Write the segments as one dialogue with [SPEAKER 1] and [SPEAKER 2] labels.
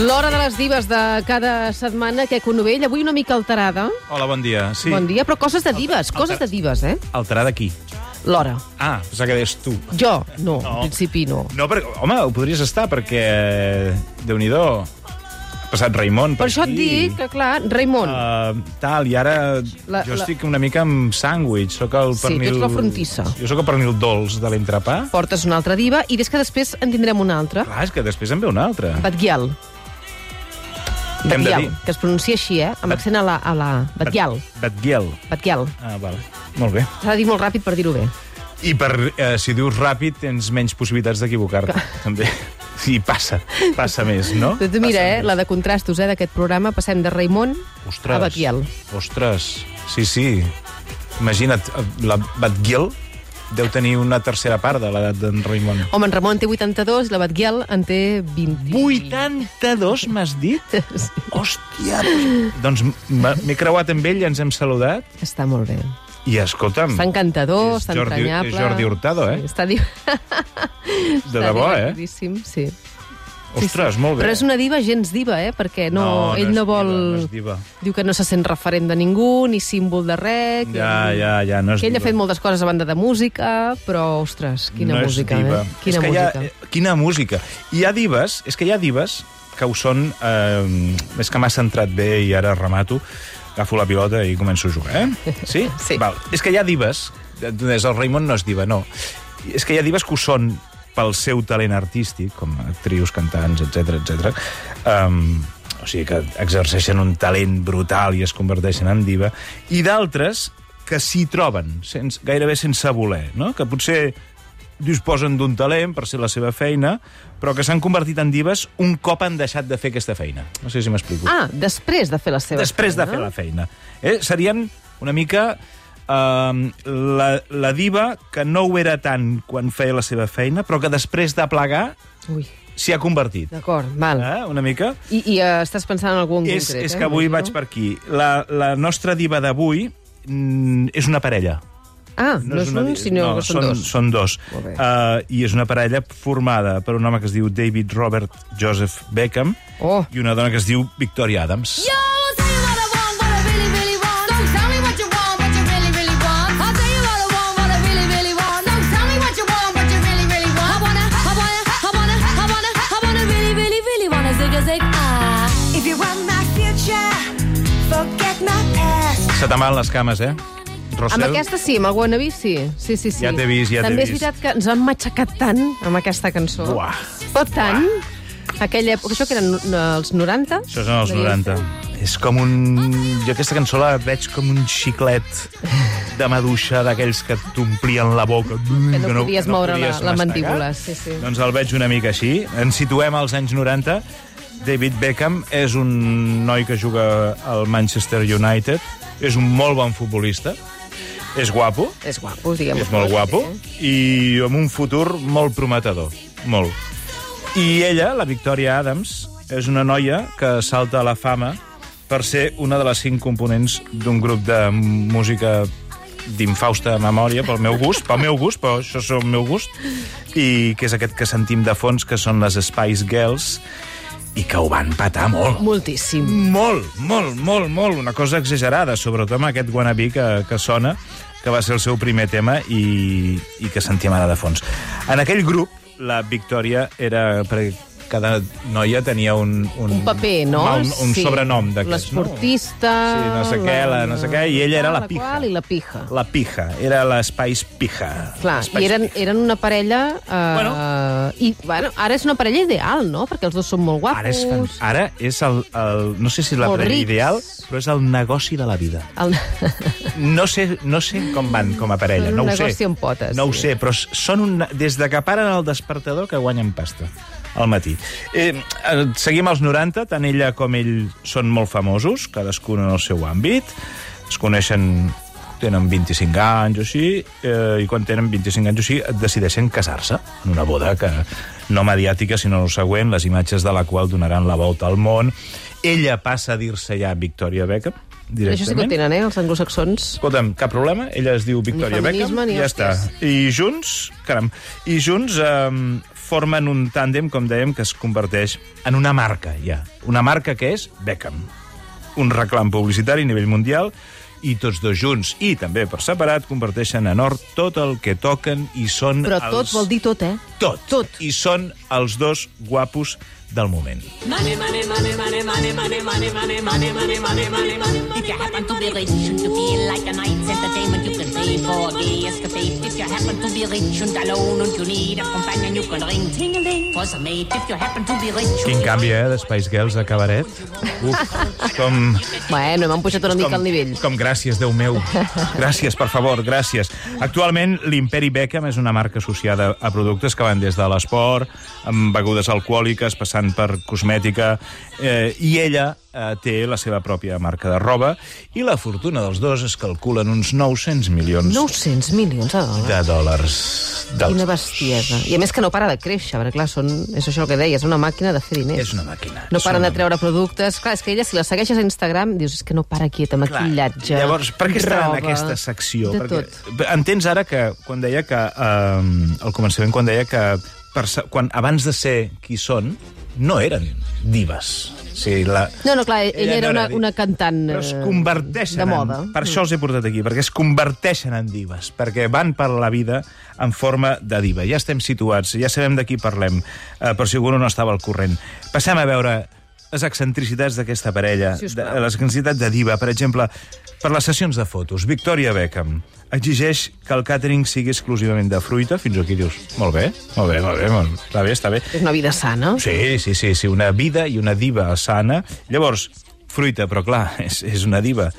[SPEAKER 1] L'hora de les divas de cada setmana, que Conovell, avui una mica alterada.
[SPEAKER 2] Hola, bon dia. Sí.
[SPEAKER 1] Bon dia, però coses de divas, coses de divas, eh?
[SPEAKER 2] Alterar d'aquí.
[SPEAKER 1] L'hora.
[SPEAKER 2] Ah, pensava que deies tu.
[SPEAKER 1] Jo, no, no, en
[SPEAKER 2] No.
[SPEAKER 1] principi no.
[SPEAKER 2] No, perquè, home, ho podries estar, perquè... eh, Déu-n'hi-do. Ha passat Raimon
[SPEAKER 1] Per
[SPEAKER 2] per,
[SPEAKER 1] això et dic que, clar, Raimon, uh,
[SPEAKER 2] Uh, tal, i ara
[SPEAKER 1] La-
[SPEAKER 2] la, jo
[SPEAKER 1] la-
[SPEAKER 2] estic una mica amb sàndwich. Soc el
[SPEAKER 1] Sí,
[SPEAKER 2] pernil...
[SPEAKER 1] tu ets la frontissa.
[SPEAKER 2] Jo sóc el pernil dolç de l'entrepà.
[SPEAKER 1] portes una altra diva i des que després en tindrem una altra.
[SPEAKER 2] Clar, és que després en ve una altra.
[SPEAKER 1] Batguial.
[SPEAKER 2] Què hem de
[SPEAKER 1] Batguial,
[SPEAKER 2] dir?
[SPEAKER 1] que es pronuncia així, eh? Amb accent a la... A la... Batguial.
[SPEAKER 2] Batguiel.
[SPEAKER 1] Batguial.
[SPEAKER 2] Ah, val. Molt bé.
[SPEAKER 1] S'ha de dir molt ràpid per dir-ho bé.
[SPEAKER 2] I per, eh, si dius ràpid, tens menys possibilitats d'equivocar-te, també. Sí, passa. Passa més, no?
[SPEAKER 1] Tu, tu mira,
[SPEAKER 2] Passa
[SPEAKER 1] eh?
[SPEAKER 2] més.
[SPEAKER 1] La de contrastos, eh? D'aquest programa. Passem de Raimon
[SPEAKER 2] Ostres.
[SPEAKER 1] a Batguial.
[SPEAKER 2] Ostres, sí, sí. Imagina't, la Batguil deu tenir una tercera part de l'edat d'en Raimon.
[SPEAKER 1] Home, en Ramon en té 82 i la Batguial en té 20.
[SPEAKER 2] 82, m'has dit?
[SPEAKER 1] Sí.
[SPEAKER 2] Hòstia! Doncs m'ha- m'he creuat amb ell, ens hem saludat,
[SPEAKER 1] Està molt bé.
[SPEAKER 2] i escolta'm...
[SPEAKER 1] Està encantador,
[SPEAKER 2] Mm. és
[SPEAKER 1] està
[SPEAKER 2] Jordi-
[SPEAKER 1] entranyable.
[SPEAKER 2] és Jordi Hurtado, eh?
[SPEAKER 1] Sí, està div...
[SPEAKER 2] De debò, eh?
[SPEAKER 1] Divertidíssim, sí.
[SPEAKER 2] Ostres, molt bé.
[SPEAKER 1] Però és una diva gens diva, eh? Perquè no, ell
[SPEAKER 2] és
[SPEAKER 1] no vol...
[SPEAKER 2] Diva, no és diva.
[SPEAKER 1] Diu que no se sent referent de ningú, ni símbol de res, que,
[SPEAKER 2] Ja, ja, ja, no és
[SPEAKER 1] que ell
[SPEAKER 2] diva.
[SPEAKER 1] ha fet moltes coses a banda de música, però, ostres, quina
[SPEAKER 2] no
[SPEAKER 1] música,
[SPEAKER 2] és diva.
[SPEAKER 1] eh? Quina
[SPEAKER 2] és que
[SPEAKER 1] música.
[SPEAKER 2] Hi ha, eh, quina música. I hi ha divas, és que hi ha divas que ho són... Eh, és que m'ha centrat bé i ara remato. Agafo la pilota i començo a jugar, eh? Sí?
[SPEAKER 1] Sí.
[SPEAKER 2] Val. És que hi ha divas... Des el Raimon no és diva, no. És que hi ha divas que ho són pel seu talent artístic, com actrius, cantants, etc etc. Um, o sigui, que exerceixen un talent brutal i es converteixen en diva, i d'altres que s'hi troben, sense, gairebé sense voler, no? que potser disposen d'un talent per ser la seva feina, però que s'han convertit en dives un cop han deixat de fer aquesta feina. No sé si m'explico.
[SPEAKER 1] Ah, després de fer la seva
[SPEAKER 2] Després de
[SPEAKER 1] feina.
[SPEAKER 2] fer la feina. Eh? Serien una mica eh, la, la diva que no ho era tant quan feia la seva feina, però que després de plegar
[SPEAKER 1] Ui,
[SPEAKER 2] s'hi ha convertit.
[SPEAKER 1] d'acord, val.
[SPEAKER 2] Eh? Una mica.
[SPEAKER 1] I, I uh, estàs pensant en algú en
[SPEAKER 2] És,
[SPEAKER 1] concret, eh?
[SPEAKER 2] és que avui
[SPEAKER 1] Imagino.
[SPEAKER 2] vaig per aquí. La, la nostra diva d'avui mm, és una parella.
[SPEAKER 1] Ah, no, és un,
[SPEAKER 2] di-
[SPEAKER 1] sinó que són,
[SPEAKER 2] són
[SPEAKER 1] dos.
[SPEAKER 2] Són dos.
[SPEAKER 1] Molt bé.
[SPEAKER 2] Uh, I és una parella formada per un home que es diu David Robert Joseph Beckham
[SPEAKER 1] Oh.
[SPEAKER 2] i una dona que es diu Victoria Adams.
[SPEAKER 3] Yo, I'll tell you what I want, what I really, really want. Don't tell me what you want, what you really, really want. I'll tell you what I want, what I really, really want. Don't tell me what you want, what you really, really want. I wanna, I wanna, I wanna, I wanna, I wanna really, really, really wanna zig a zig ah.
[SPEAKER 4] If you want my future, forget my past.
[SPEAKER 2] Se te van les cames, eh? Rossell?
[SPEAKER 1] Amb aquesta sí, amb el Wannabe sí. Sí, sí, sí.
[SPEAKER 2] Ja t'he vist, ja t'he
[SPEAKER 1] També és
[SPEAKER 2] vist.
[SPEAKER 1] veritat que ens han matxacat tant amb aquesta cançó.
[SPEAKER 2] Buah.
[SPEAKER 1] Però tant. Aquella època, això que eren no, els 90?
[SPEAKER 2] Això són els 90. És com un... Jo aquesta cançó la veig com un xiclet de maduixa d'aquells que t'omplien la boca. Que
[SPEAKER 1] no podies moure la-
[SPEAKER 2] podies
[SPEAKER 1] la
[SPEAKER 2] mastegar.
[SPEAKER 1] mandíbula, sí, sí.
[SPEAKER 2] Doncs el veig una mica així. Ens situem als anys 90. David Beckham és un noi que juga al Manchester United. És un molt bon futbolista. És guapo.
[SPEAKER 1] És guapo, diguem-ho.
[SPEAKER 2] És molt guapo i amb un futur molt prometedor, molt. I ella, la Victoria Adams, és una noia que salta a la fama per ser una de les cinc components d'un grup de música d'infausta memòria, pel meu gust, pel meu gust, però això és el meu gust, i que és aquest que sentim de fons, que són les Spice Girls, i que ho van patar molt.
[SPEAKER 1] Moltíssim.
[SPEAKER 2] Molt, molt, molt, molt. Una cosa exagerada, sobretot amb aquest wannabe que, que sona, que va ser el seu primer tema i, i que sentim ara de fons. En aquell grup, la Victòria era... Per cada noia tenia un...
[SPEAKER 1] Un paper, no?
[SPEAKER 2] Un, un
[SPEAKER 1] Sí.
[SPEAKER 2] sobrenom d'aquests.
[SPEAKER 1] L'esportista...
[SPEAKER 2] No? Sí, no sé què, la, no sé què, i ella era la pija.
[SPEAKER 1] qual I la pija.
[SPEAKER 2] La pija, era l'espais pija.
[SPEAKER 1] Clar,
[SPEAKER 2] L'Spice
[SPEAKER 1] i eren,
[SPEAKER 2] Pija.
[SPEAKER 1] eren una parella... Eh, bueno. I, bueno, ara és una parella ideal, no? Perquè els dos són molt guapos.
[SPEAKER 2] Ara és, fan... ara és el, el... No sé si és la
[SPEAKER 1] Molt
[SPEAKER 2] parella
[SPEAKER 1] rics.
[SPEAKER 2] ideal, però és el negoci de la vida.
[SPEAKER 1] El...
[SPEAKER 2] No sé, no sé com van com a parella,
[SPEAKER 1] Són un
[SPEAKER 2] no ho
[SPEAKER 1] negoci
[SPEAKER 2] sé.
[SPEAKER 1] amb potes,
[SPEAKER 2] no ho
[SPEAKER 1] sí.
[SPEAKER 2] sé, però s- són un, des de que paren el despertador que guanyen pasta al matí. Eh, eh, seguim als 90, tant ella com ell són molt famosos, cadascun en el seu àmbit, es coneixen tenen 25 anys o així, eh, i quan tenen 25 anys o així decideixen casar-se en una boda que no mediàtica, sinó el següent, les imatges de la qual donaran la volta al món. Ella passa a dir-se ja Victoria Beckham, directament.
[SPEAKER 1] Això sí que ho tenen, eh, els anglosaxons.
[SPEAKER 2] Escolta'm, cap problema, ella es diu Victoria
[SPEAKER 1] feminisme,
[SPEAKER 2] Beckham,
[SPEAKER 1] ni
[SPEAKER 2] ja
[SPEAKER 1] hòsties.
[SPEAKER 2] està. I junts, caram, i junts eh, formen un tàndem, com dèiem, que es converteix en una marca, ja. Una marca que és Beckham. Un reclam publicitari a nivell mundial i tots dos junts, i també per separat, converteixen en or tot el que toquen i són
[SPEAKER 1] Però
[SPEAKER 2] els...
[SPEAKER 1] tot vol dir tot, eh?
[SPEAKER 2] Tot.
[SPEAKER 1] Tot.
[SPEAKER 2] I són els dos guapos del moment.
[SPEAKER 5] If you happen to be rich and you feel like a night's entertainment, you can pay for the escapade. If you happen to be rich and alone and you need a companion, you can ring ting-a-ling for some mate. If you happen to be rich...
[SPEAKER 2] Quin canvi, eh, d'Espais Girls a cabaret. Uf, és com...
[SPEAKER 1] Bueno, m'han pujat una
[SPEAKER 2] és
[SPEAKER 1] mica el nivell.
[SPEAKER 2] és Com gràcies, Déu meu. Gràcies, per favor, gràcies. Actualment, l'Imperi Beckham és una marca associada a productes que van des de l'esport, amb begudes alcohòliques, passant per cosmètica, eh, i ella eh, té la seva pròpia marca de roba, i la fortuna dels dos es calcula en uns 900 milions
[SPEAKER 1] 900 milions de dòlars.
[SPEAKER 2] de dòlars. dels
[SPEAKER 1] Quina
[SPEAKER 2] dos.
[SPEAKER 1] bestiesa. I a més que no para de créixer, perquè clar, són, és això el que deia, és una màquina de fer diners.
[SPEAKER 2] És una màquina.
[SPEAKER 1] No
[SPEAKER 2] És
[SPEAKER 1] paren
[SPEAKER 2] una
[SPEAKER 1] de treure productes. Clar, és que ella, si la segueixes a Instagram, dius, és que no para quieta, maquillatge,
[SPEAKER 2] Llavors, per què està en
[SPEAKER 1] roba,
[SPEAKER 2] aquesta secció?
[SPEAKER 1] De
[SPEAKER 2] Perquè,
[SPEAKER 1] tot.
[SPEAKER 2] Entens ara que, quan deia que... Eh, al començament, quan deia que per, sa- quan, abans de ser qui són, no eren divas. O sigui, la,
[SPEAKER 1] No, no, clar, ella era
[SPEAKER 2] no
[SPEAKER 1] una,
[SPEAKER 2] diva.
[SPEAKER 1] una cantant
[SPEAKER 2] Però es
[SPEAKER 1] eh,
[SPEAKER 2] converteixen
[SPEAKER 1] de moda.
[SPEAKER 2] En, per això els he portat aquí, perquè es converteixen en divas, perquè van per la vida en forma de diva. Ja estem situats, ja sabem de qui parlem, eh, per si algú no estava al corrent. Passem a veure les excentricitats d'aquesta parella, de,
[SPEAKER 1] Sisplau.
[SPEAKER 2] les excentricitats de diva. Per exemple, per les sessions de fotos, Victoria Beckham exigeix que el càtering sigui exclusivament de fruita, fins aquí dius, molt bé, molt bé, molt bé, molt bé està bé, està bé.
[SPEAKER 1] Mm. És una vida sana.
[SPEAKER 2] Sí, sí, sí, sí, una vida i una diva sana. Llavors, fruita, però clar, és, és una diva.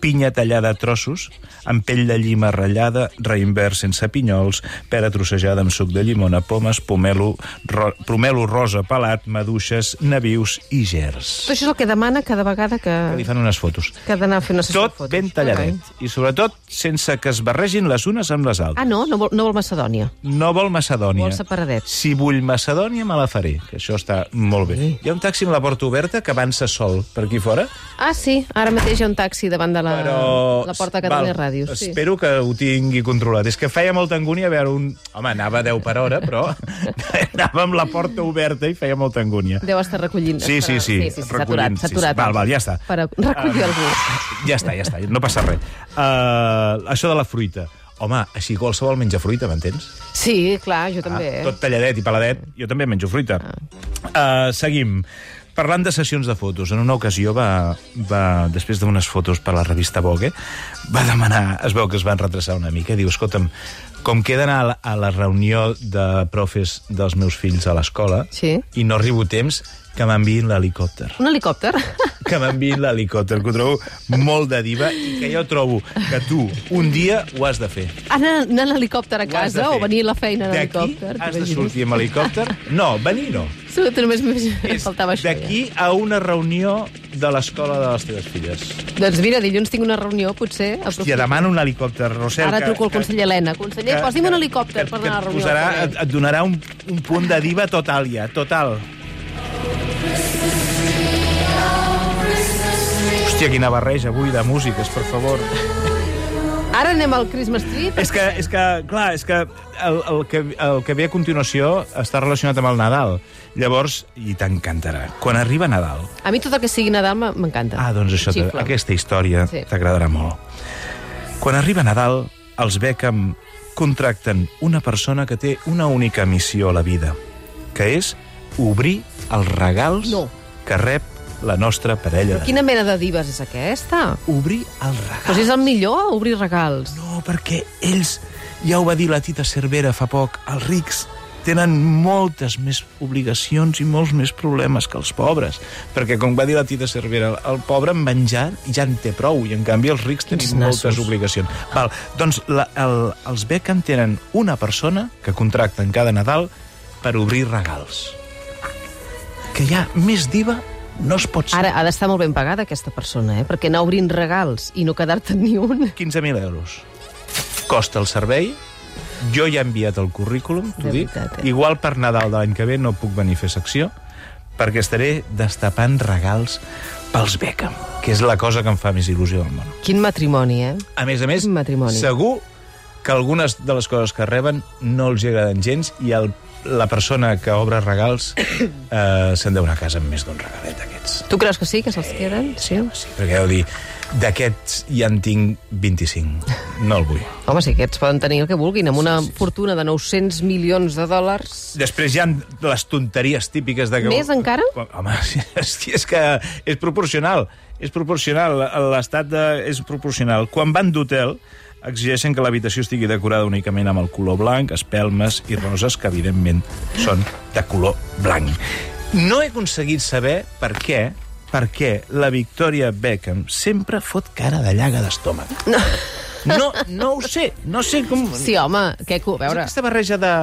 [SPEAKER 2] Pinya tallada a trossos, amb pell de llima ratllada, reinvers sense pinyols, pera trossejada amb suc de llimona, pomes, pomelo, ro pomelo rosa pelat, maduixes, navius i gers.
[SPEAKER 1] Tot això és el que demana cada vegada que,
[SPEAKER 2] Li fan unes fotos.
[SPEAKER 1] que ha d'anar a fer una sessió de
[SPEAKER 2] Tot
[SPEAKER 1] fotos.
[SPEAKER 2] ben talladet. I sobretot sense que es barregin les unes amb les
[SPEAKER 1] Ah,
[SPEAKER 2] altres.
[SPEAKER 1] no? No vol, no vol Macedònia.
[SPEAKER 2] No vol Macedònia.
[SPEAKER 1] Vol separadet.
[SPEAKER 2] Si vull Macedònia, me la faré, que això està molt bé. Hi ha un taxi amb la porta oberta que avança sol per aquí fora,
[SPEAKER 1] Ah, sí, ara mateix hi ha un taxi davant de la,
[SPEAKER 2] però...
[SPEAKER 1] Ah, la porta de Catalunya Ràdio. Sí.
[SPEAKER 2] Espero que ho tingui controlat. És que feia molta angúnia veure un... Home, anava a 10 per hora, però anava amb la porta oberta i feia molta angúnia.
[SPEAKER 1] Deu estar recollint.
[SPEAKER 2] Sí, sí,
[SPEAKER 1] esperant.
[SPEAKER 2] sí,
[SPEAKER 1] sí, sí, sí saturat,
[SPEAKER 2] recollint, sí, sí.
[SPEAKER 1] saturat.
[SPEAKER 2] Val, val, ja està. Ah.
[SPEAKER 1] Per a recollir algú.
[SPEAKER 2] Ja està, ja està, no passa res. Uh, això de la fruita. Home, així qualsevol menja fruita, m'entens?
[SPEAKER 1] Sí, clar, jo també. eh.
[SPEAKER 2] Ah, tot talladet i paladet, jo també menjo fruita. Ah. Uh, seguim. Parlant de sessions de fotos, en una ocasió va, va després d'unes fotos per la revista Vogue, va demanar, es veu que es van retrasar una mica, diu, escolta'm, com queden a la, a la reunió de profes dels meus fills a l'escola
[SPEAKER 1] Sí.
[SPEAKER 2] i no arribo a temps, que m'enviïn l'helicòpter
[SPEAKER 1] Un helicòpter?
[SPEAKER 2] que m'enviïn l'helicòpter, que ho trobo molt de diva i que jo trobo que tu un dia ho has de fer.
[SPEAKER 1] Anar, anar en helicòpter a
[SPEAKER 2] Ho has de
[SPEAKER 1] casa
[SPEAKER 2] fer.
[SPEAKER 1] o venir a la feina en helicòpter?
[SPEAKER 2] D'aquí has de
[SPEAKER 1] t'imagines?
[SPEAKER 2] sortir amb helicòpter. No, venir no.
[SPEAKER 1] Surt, només em
[SPEAKER 2] És
[SPEAKER 1] faltava això.
[SPEAKER 2] D'aquí a una reunió de l'escola de les teves filles.
[SPEAKER 1] Ja. Doncs mira, dilluns tinc una reunió, potser...
[SPEAKER 2] Hòstia,
[SPEAKER 1] aprofito.
[SPEAKER 2] demana un helicòpter, Rosel.
[SPEAKER 1] Ara
[SPEAKER 2] que-
[SPEAKER 1] truco al
[SPEAKER 2] que-
[SPEAKER 1] conseller Helena. Conseller,
[SPEAKER 2] que-
[SPEAKER 1] posi'm un
[SPEAKER 2] que-
[SPEAKER 1] helicòpter per
[SPEAKER 2] que
[SPEAKER 1] anar a la
[SPEAKER 2] et
[SPEAKER 1] reunió.
[SPEAKER 2] Posarà, et,
[SPEAKER 1] també.
[SPEAKER 2] et donarà un, un punt de diva total, ja, total. Hòstia, quina barreja avui de músiques, per favor.
[SPEAKER 1] Ara anem al Christmas tree.
[SPEAKER 2] És que, és que clar, és que el, el que el que ve a continuació està relacionat amb el Nadal. Llavors, i t'encantarà, quan arriba Nadal,
[SPEAKER 1] A mi tot el que sigui Nadal m- m'encanta.
[SPEAKER 2] Ah, doncs això,
[SPEAKER 1] Xifla.
[SPEAKER 2] t'ag- aquesta història
[SPEAKER 1] Sí.
[SPEAKER 2] t'agradarà molt. Quan arriba Nadal, els Beckham contracten una persona que té una única missió a la vida, que és obrir els regals
[SPEAKER 1] No.
[SPEAKER 2] que rep la nostra parella.
[SPEAKER 1] Però
[SPEAKER 2] de
[SPEAKER 1] quina mena de divas és aquesta?
[SPEAKER 2] Obrir el regal.
[SPEAKER 1] Però si és el millor, obrir regals.
[SPEAKER 2] No, perquè ells, ja ho va dir la Tita Cervera fa poc, els rics tenen moltes més obligacions i molts més problemes que els pobres. Perquè, com va dir la Tita Cervera, el pobre en menjar ja en té prou, i en canvi els rics
[SPEAKER 1] Quins
[SPEAKER 2] tenen moltes
[SPEAKER 1] nassos.
[SPEAKER 2] obligacions. Val, doncs la, el, els Beckham tenen una persona que contracten cada Nadal per obrir regals. Que ja més diva no es pot ser.
[SPEAKER 1] Ara, ha d'estar molt ben pagada aquesta persona, eh? Perquè anar obrint regals i no quedar-te ni un...
[SPEAKER 2] 15.000 euros. Costa el servei, jo ja he enviat el currículum, t'ho
[SPEAKER 1] De
[SPEAKER 2] dic.
[SPEAKER 1] veritat, eh?
[SPEAKER 2] Igual per Nadal de l'any que ve no puc venir a fer secció, perquè estaré destapant regals pels Beckham, que és la cosa que em fa més il·lusió del món.
[SPEAKER 1] Quin matrimoni, eh?
[SPEAKER 2] A més a més,
[SPEAKER 1] Matrimoni.
[SPEAKER 2] segur que algunes de les coses que reben no els agraden gens i el la persona que obre regals eh, se'n deu una casa amb més d'un regalet d'aquests.
[SPEAKER 1] Tu creus que sí, que se'ls queden? Sí.
[SPEAKER 2] Eh, Sí, perquè deu dir, d'aquests ja en tinc 25, no el vull.
[SPEAKER 1] Home, sí, aquests poden tenir el que vulguin, amb una fortuna de 900 milions de dòlars.
[SPEAKER 2] Després hi ha les tonteries típiques de que...
[SPEAKER 1] Més encara?
[SPEAKER 2] Home, és que és, que és proporcional. És proporcional. L'estat de... és proporcional. Quan van d'hotel, exigeixen que l'habitació estigui decorada únicament amb el color blanc, espelmes i roses, que evidentment són de color blanc. No he aconseguit saber per què per què la Victoria Beckham sempre fot cara de llaga d'estómac. No. no, no ho sé, no sé com...
[SPEAKER 1] Sí, home, què... co- A
[SPEAKER 2] És
[SPEAKER 1] veure...
[SPEAKER 2] aquesta barreja de...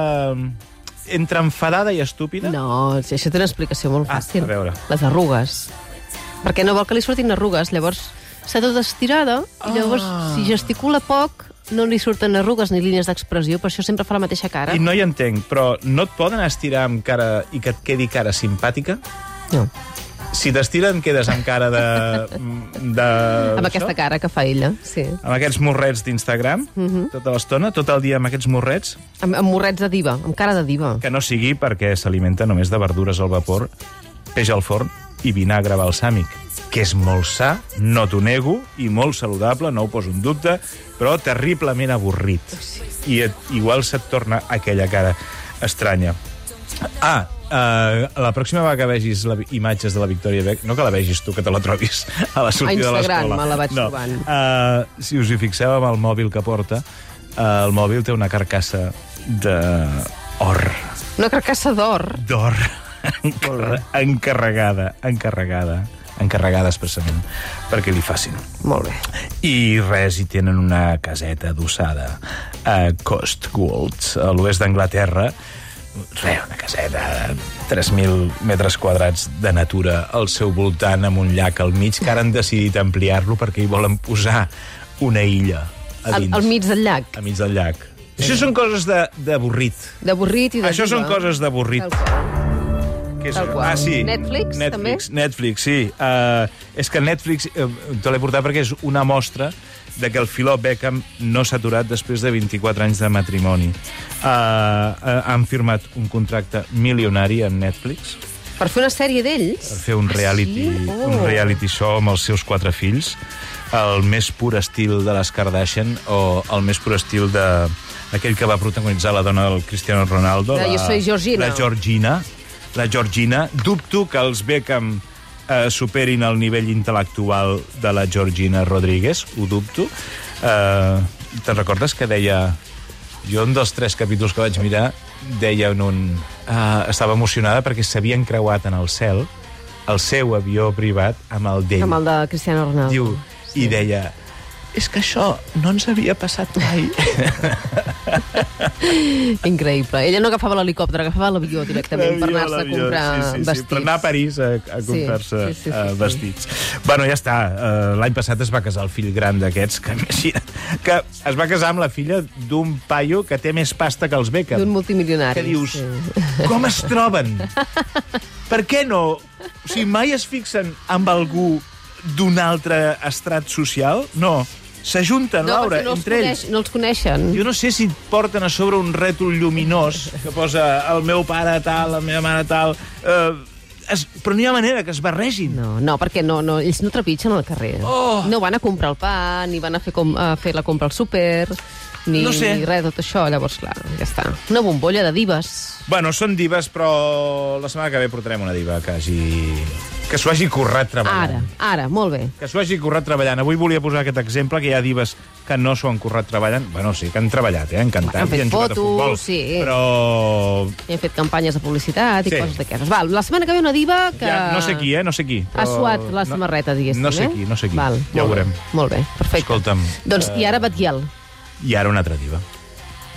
[SPEAKER 2] entre enfadada i estúpida?
[SPEAKER 1] No, sí, això té una explicació molt
[SPEAKER 2] Ah,
[SPEAKER 1] fàcil.
[SPEAKER 2] a veure.
[SPEAKER 1] Les arrugues. Perquè no vol que li surtin arrugues, llavors s'ha tot estirada, i llavors
[SPEAKER 2] Ah.
[SPEAKER 1] si gesticula poc no li surten arrugues ni línies d'expressió, per això sempre fa la mateixa cara.
[SPEAKER 2] I no hi entenc, però no et poden estirar amb cara i que et quedi cara simpàtica?
[SPEAKER 1] no.
[SPEAKER 2] Si t'estiren, quedes amb cara de... de
[SPEAKER 1] Amb aquesta
[SPEAKER 2] això?
[SPEAKER 1] cara que fa ella, sí.
[SPEAKER 2] Amb aquests morrets d'Instagram,
[SPEAKER 1] Mhm.
[SPEAKER 2] tota l'estona, tot el dia amb aquests morrets,
[SPEAKER 1] Amb, amb morrets de diva, amb cara de diva.
[SPEAKER 2] que no sigui perquè s'alimenta només de verdures al vapor, peix al forn i vinagre balsàmic, que és molt sa, no t'ho nego, i molt saludable, no ho poso en dubte, però terriblement avorrit. I et, igual se't torna aquella cara estranya. Ah, eh, la pròxima vegada que vegis la, imatges de la Victòria Beck, no que la vegis tu, que te la trobis a la sortida de l'escola.
[SPEAKER 1] Instagram me la vaig
[SPEAKER 2] no.
[SPEAKER 1] trobant.
[SPEAKER 2] Uh, si us hi fixeu amb el mòbil que porta, uh, el mòbil té una carcassa de or
[SPEAKER 1] Una carcassa d'or.
[SPEAKER 2] d'or encar encarregada, encarregada, encarregada expressament perquè li facin.
[SPEAKER 1] Molt bé.
[SPEAKER 2] I res, hi tenen una caseta adossada a Costwold, a l'oest d'Anglaterra. Res, una caseta de 3.000 metres quadrats de natura al seu voltant, amb un llac al mig, que ara han decidit ampliar-lo perquè hi volen posar una illa a
[SPEAKER 1] Al,
[SPEAKER 2] dins,
[SPEAKER 1] al mig del llac.
[SPEAKER 2] a mig del llac. Això són coses de- d'avorrit.
[SPEAKER 1] D'avorrit i de
[SPEAKER 2] Això són
[SPEAKER 1] diva.
[SPEAKER 2] coses d'avorrit.
[SPEAKER 1] Tal qual.
[SPEAKER 2] Que és...
[SPEAKER 1] Tal qual.
[SPEAKER 2] Ah, sí.
[SPEAKER 1] Netflix,
[SPEAKER 2] Netflix, també? Netflix, sí. Uh, és que Netflix, uh, te l'he portat perquè és una mostra de que el Filó Beckham no s'ha aturat després de 24 anys de matrimoni. Uh, uh, han firmat un contracte milionari amb Netflix
[SPEAKER 1] Per fer una sèrie d'ells?
[SPEAKER 2] per fer un reality,
[SPEAKER 1] Ah, sí? Oh.
[SPEAKER 2] un reality show amb els seus quatre fills, el més pur estil de les Kardashian o el més pur estil de aquell que va protagonitzar la dona del Cristiano Ronaldo.
[SPEAKER 1] La Ah, Jo soy Georgina.
[SPEAKER 2] La Georgina. La Georgina. Dubto que els Beckham eh, superin el nivell intel·lectual de la Georgina Rodríguez, ho dubto. Eh, Te'n recordes que deia... Jo, un dels tres capítols que vaig mirar, deia en un... Eh, estava emocionada perquè s'havien creuat en el cel el seu avió privat amb el d'ell.
[SPEAKER 1] Amb el de Cristiano Ronaldo.
[SPEAKER 2] Diu, sí. I deia... És que això no ens havia passat mai.
[SPEAKER 1] Increïble. Ella no agafava l'helicòpter, agafava l'avió directament per
[SPEAKER 2] L'avió,
[SPEAKER 1] anar-se a
[SPEAKER 2] l'avió,
[SPEAKER 1] comprar
[SPEAKER 2] sí, sí,
[SPEAKER 1] vestits.
[SPEAKER 2] Sí, per anar a París a, a comprar-se sí, sí, sí, sí,
[SPEAKER 1] sí.
[SPEAKER 2] vestits. Bueno, ja està. Eh, L'any passat es va casar el fill gran d'aquests, que imagina't, que es va casar amb la filla d'un paio que té més pasta que els Beckham.
[SPEAKER 1] D'un multimilionari.
[SPEAKER 2] Que dius,
[SPEAKER 1] Sí.
[SPEAKER 2] com es troben? per què no? O sigui, mai es fixen amb algú d'un altre estrat social? No. S'ajunten,
[SPEAKER 1] No,
[SPEAKER 2] Laura,
[SPEAKER 1] perquè no els,
[SPEAKER 2] entre ells.
[SPEAKER 1] coneix, no els coneixen.
[SPEAKER 2] Jo no sé si et porten a sobre un rètol lluminós que posa el meu pare tal, la meva mare tal... Eh, es, però no hi ha manera que es barregin.
[SPEAKER 1] No, no, perquè no, no, ells no trepitgen al carrer.
[SPEAKER 2] Oh!
[SPEAKER 1] No van a comprar el pa, ni van a fer, com, a fer la compra al súper, ni,
[SPEAKER 2] No sé.
[SPEAKER 1] ni res de tot això. Llavors, clar, ja està. Una bombolla de divas.
[SPEAKER 2] Bueno, són divas, però la setmana que ve portarem una diva que hagi... que s'ho hagi currat
[SPEAKER 1] Ara,
[SPEAKER 2] treballant.
[SPEAKER 1] ara, molt bé.
[SPEAKER 2] Que s'ho hagi currat treballant. Avui volia posar aquest exemple, que hi ha divas que no s'ho han currat treballant. Bueno, sí, que han treballat, eh? Han cantat
[SPEAKER 1] Han fet
[SPEAKER 2] i han jugat
[SPEAKER 1] fotos,
[SPEAKER 2] a futbol.
[SPEAKER 1] sí.
[SPEAKER 2] Però...
[SPEAKER 1] I hem fet campanyes de publicitat i
[SPEAKER 2] Sí.
[SPEAKER 1] coses d'aquestes. Val, la setmana que ve una diva que...
[SPEAKER 2] Que... Ja, no sé qui, eh? No sé qui.
[SPEAKER 1] Ha suat la
[SPEAKER 2] no-
[SPEAKER 1] samarreta, diguéssim,
[SPEAKER 2] No sé
[SPEAKER 1] eh?
[SPEAKER 2] qui, no sé qui.
[SPEAKER 1] Val,
[SPEAKER 2] ja ho
[SPEAKER 1] molt bé,
[SPEAKER 2] veurem.
[SPEAKER 1] Molt bé, perfecte.
[SPEAKER 2] Escolta'm, eh,
[SPEAKER 1] Doncs, i ara Batguiel,
[SPEAKER 2] I ara una altra diva.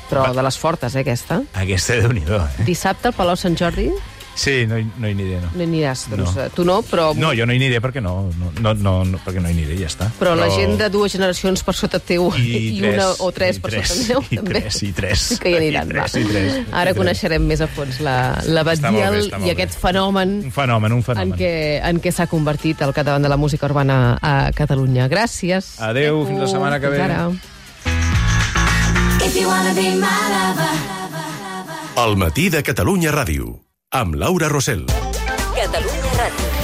[SPEAKER 1] però de les fortes, eh, aquesta.
[SPEAKER 2] Aquesta déu nhi eh?
[SPEAKER 1] Dissabte al Palau Sant Jordi
[SPEAKER 2] Sí, no, hi- no hi aniré, no.
[SPEAKER 1] no hi aniràs, doncs,
[SPEAKER 2] No.
[SPEAKER 1] eh, tu no, però...
[SPEAKER 2] No, jo no hi aniré perquè no, no, no, no, no perquè no hi aniré, ja està.
[SPEAKER 1] Però la gent de dues generacions per sota teu i, una o tres per sota meu
[SPEAKER 2] I
[SPEAKER 1] també.
[SPEAKER 2] tres, i tres.
[SPEAKER 1] Sí que hi aniran,
[SPEAKER 2] I
[SPEAKER 1] va.
[SPEAKER 2] tres, i tres.
[SPEAKER 1] Ara
[SPEAKER 2] i tres.
[SPEAKER 1] coneixerem més a fons la, la
[SPEAKER 2] Està molt bé,
[SPEAKER 1] Batguiel
[SPEAKER 2] està molt
[SPEAKER 1] i
[SPEAKER 2] bé.
[SPEAKER 1] aquest fenomen
[SPEAKER 2] Un fenomen, un
[SPEAKER 1] en
[SPEAKER 2] fenomen.
[SPEAKER 1] què, en què s'ha convertit al capdavant de la música urbana a Catalunya. Gràcies.
[SPEAKER 2] Adéu, fins la setmana que ve.
[SPEAKER 1] Fins ara.
[SPEAKER 4] If you wanna be my lover.
[SPEAKER 6] El matí de Catalunya Ràdio, amb Laura Rossell.
[SPEAKER 3] Catalunya Ràdio.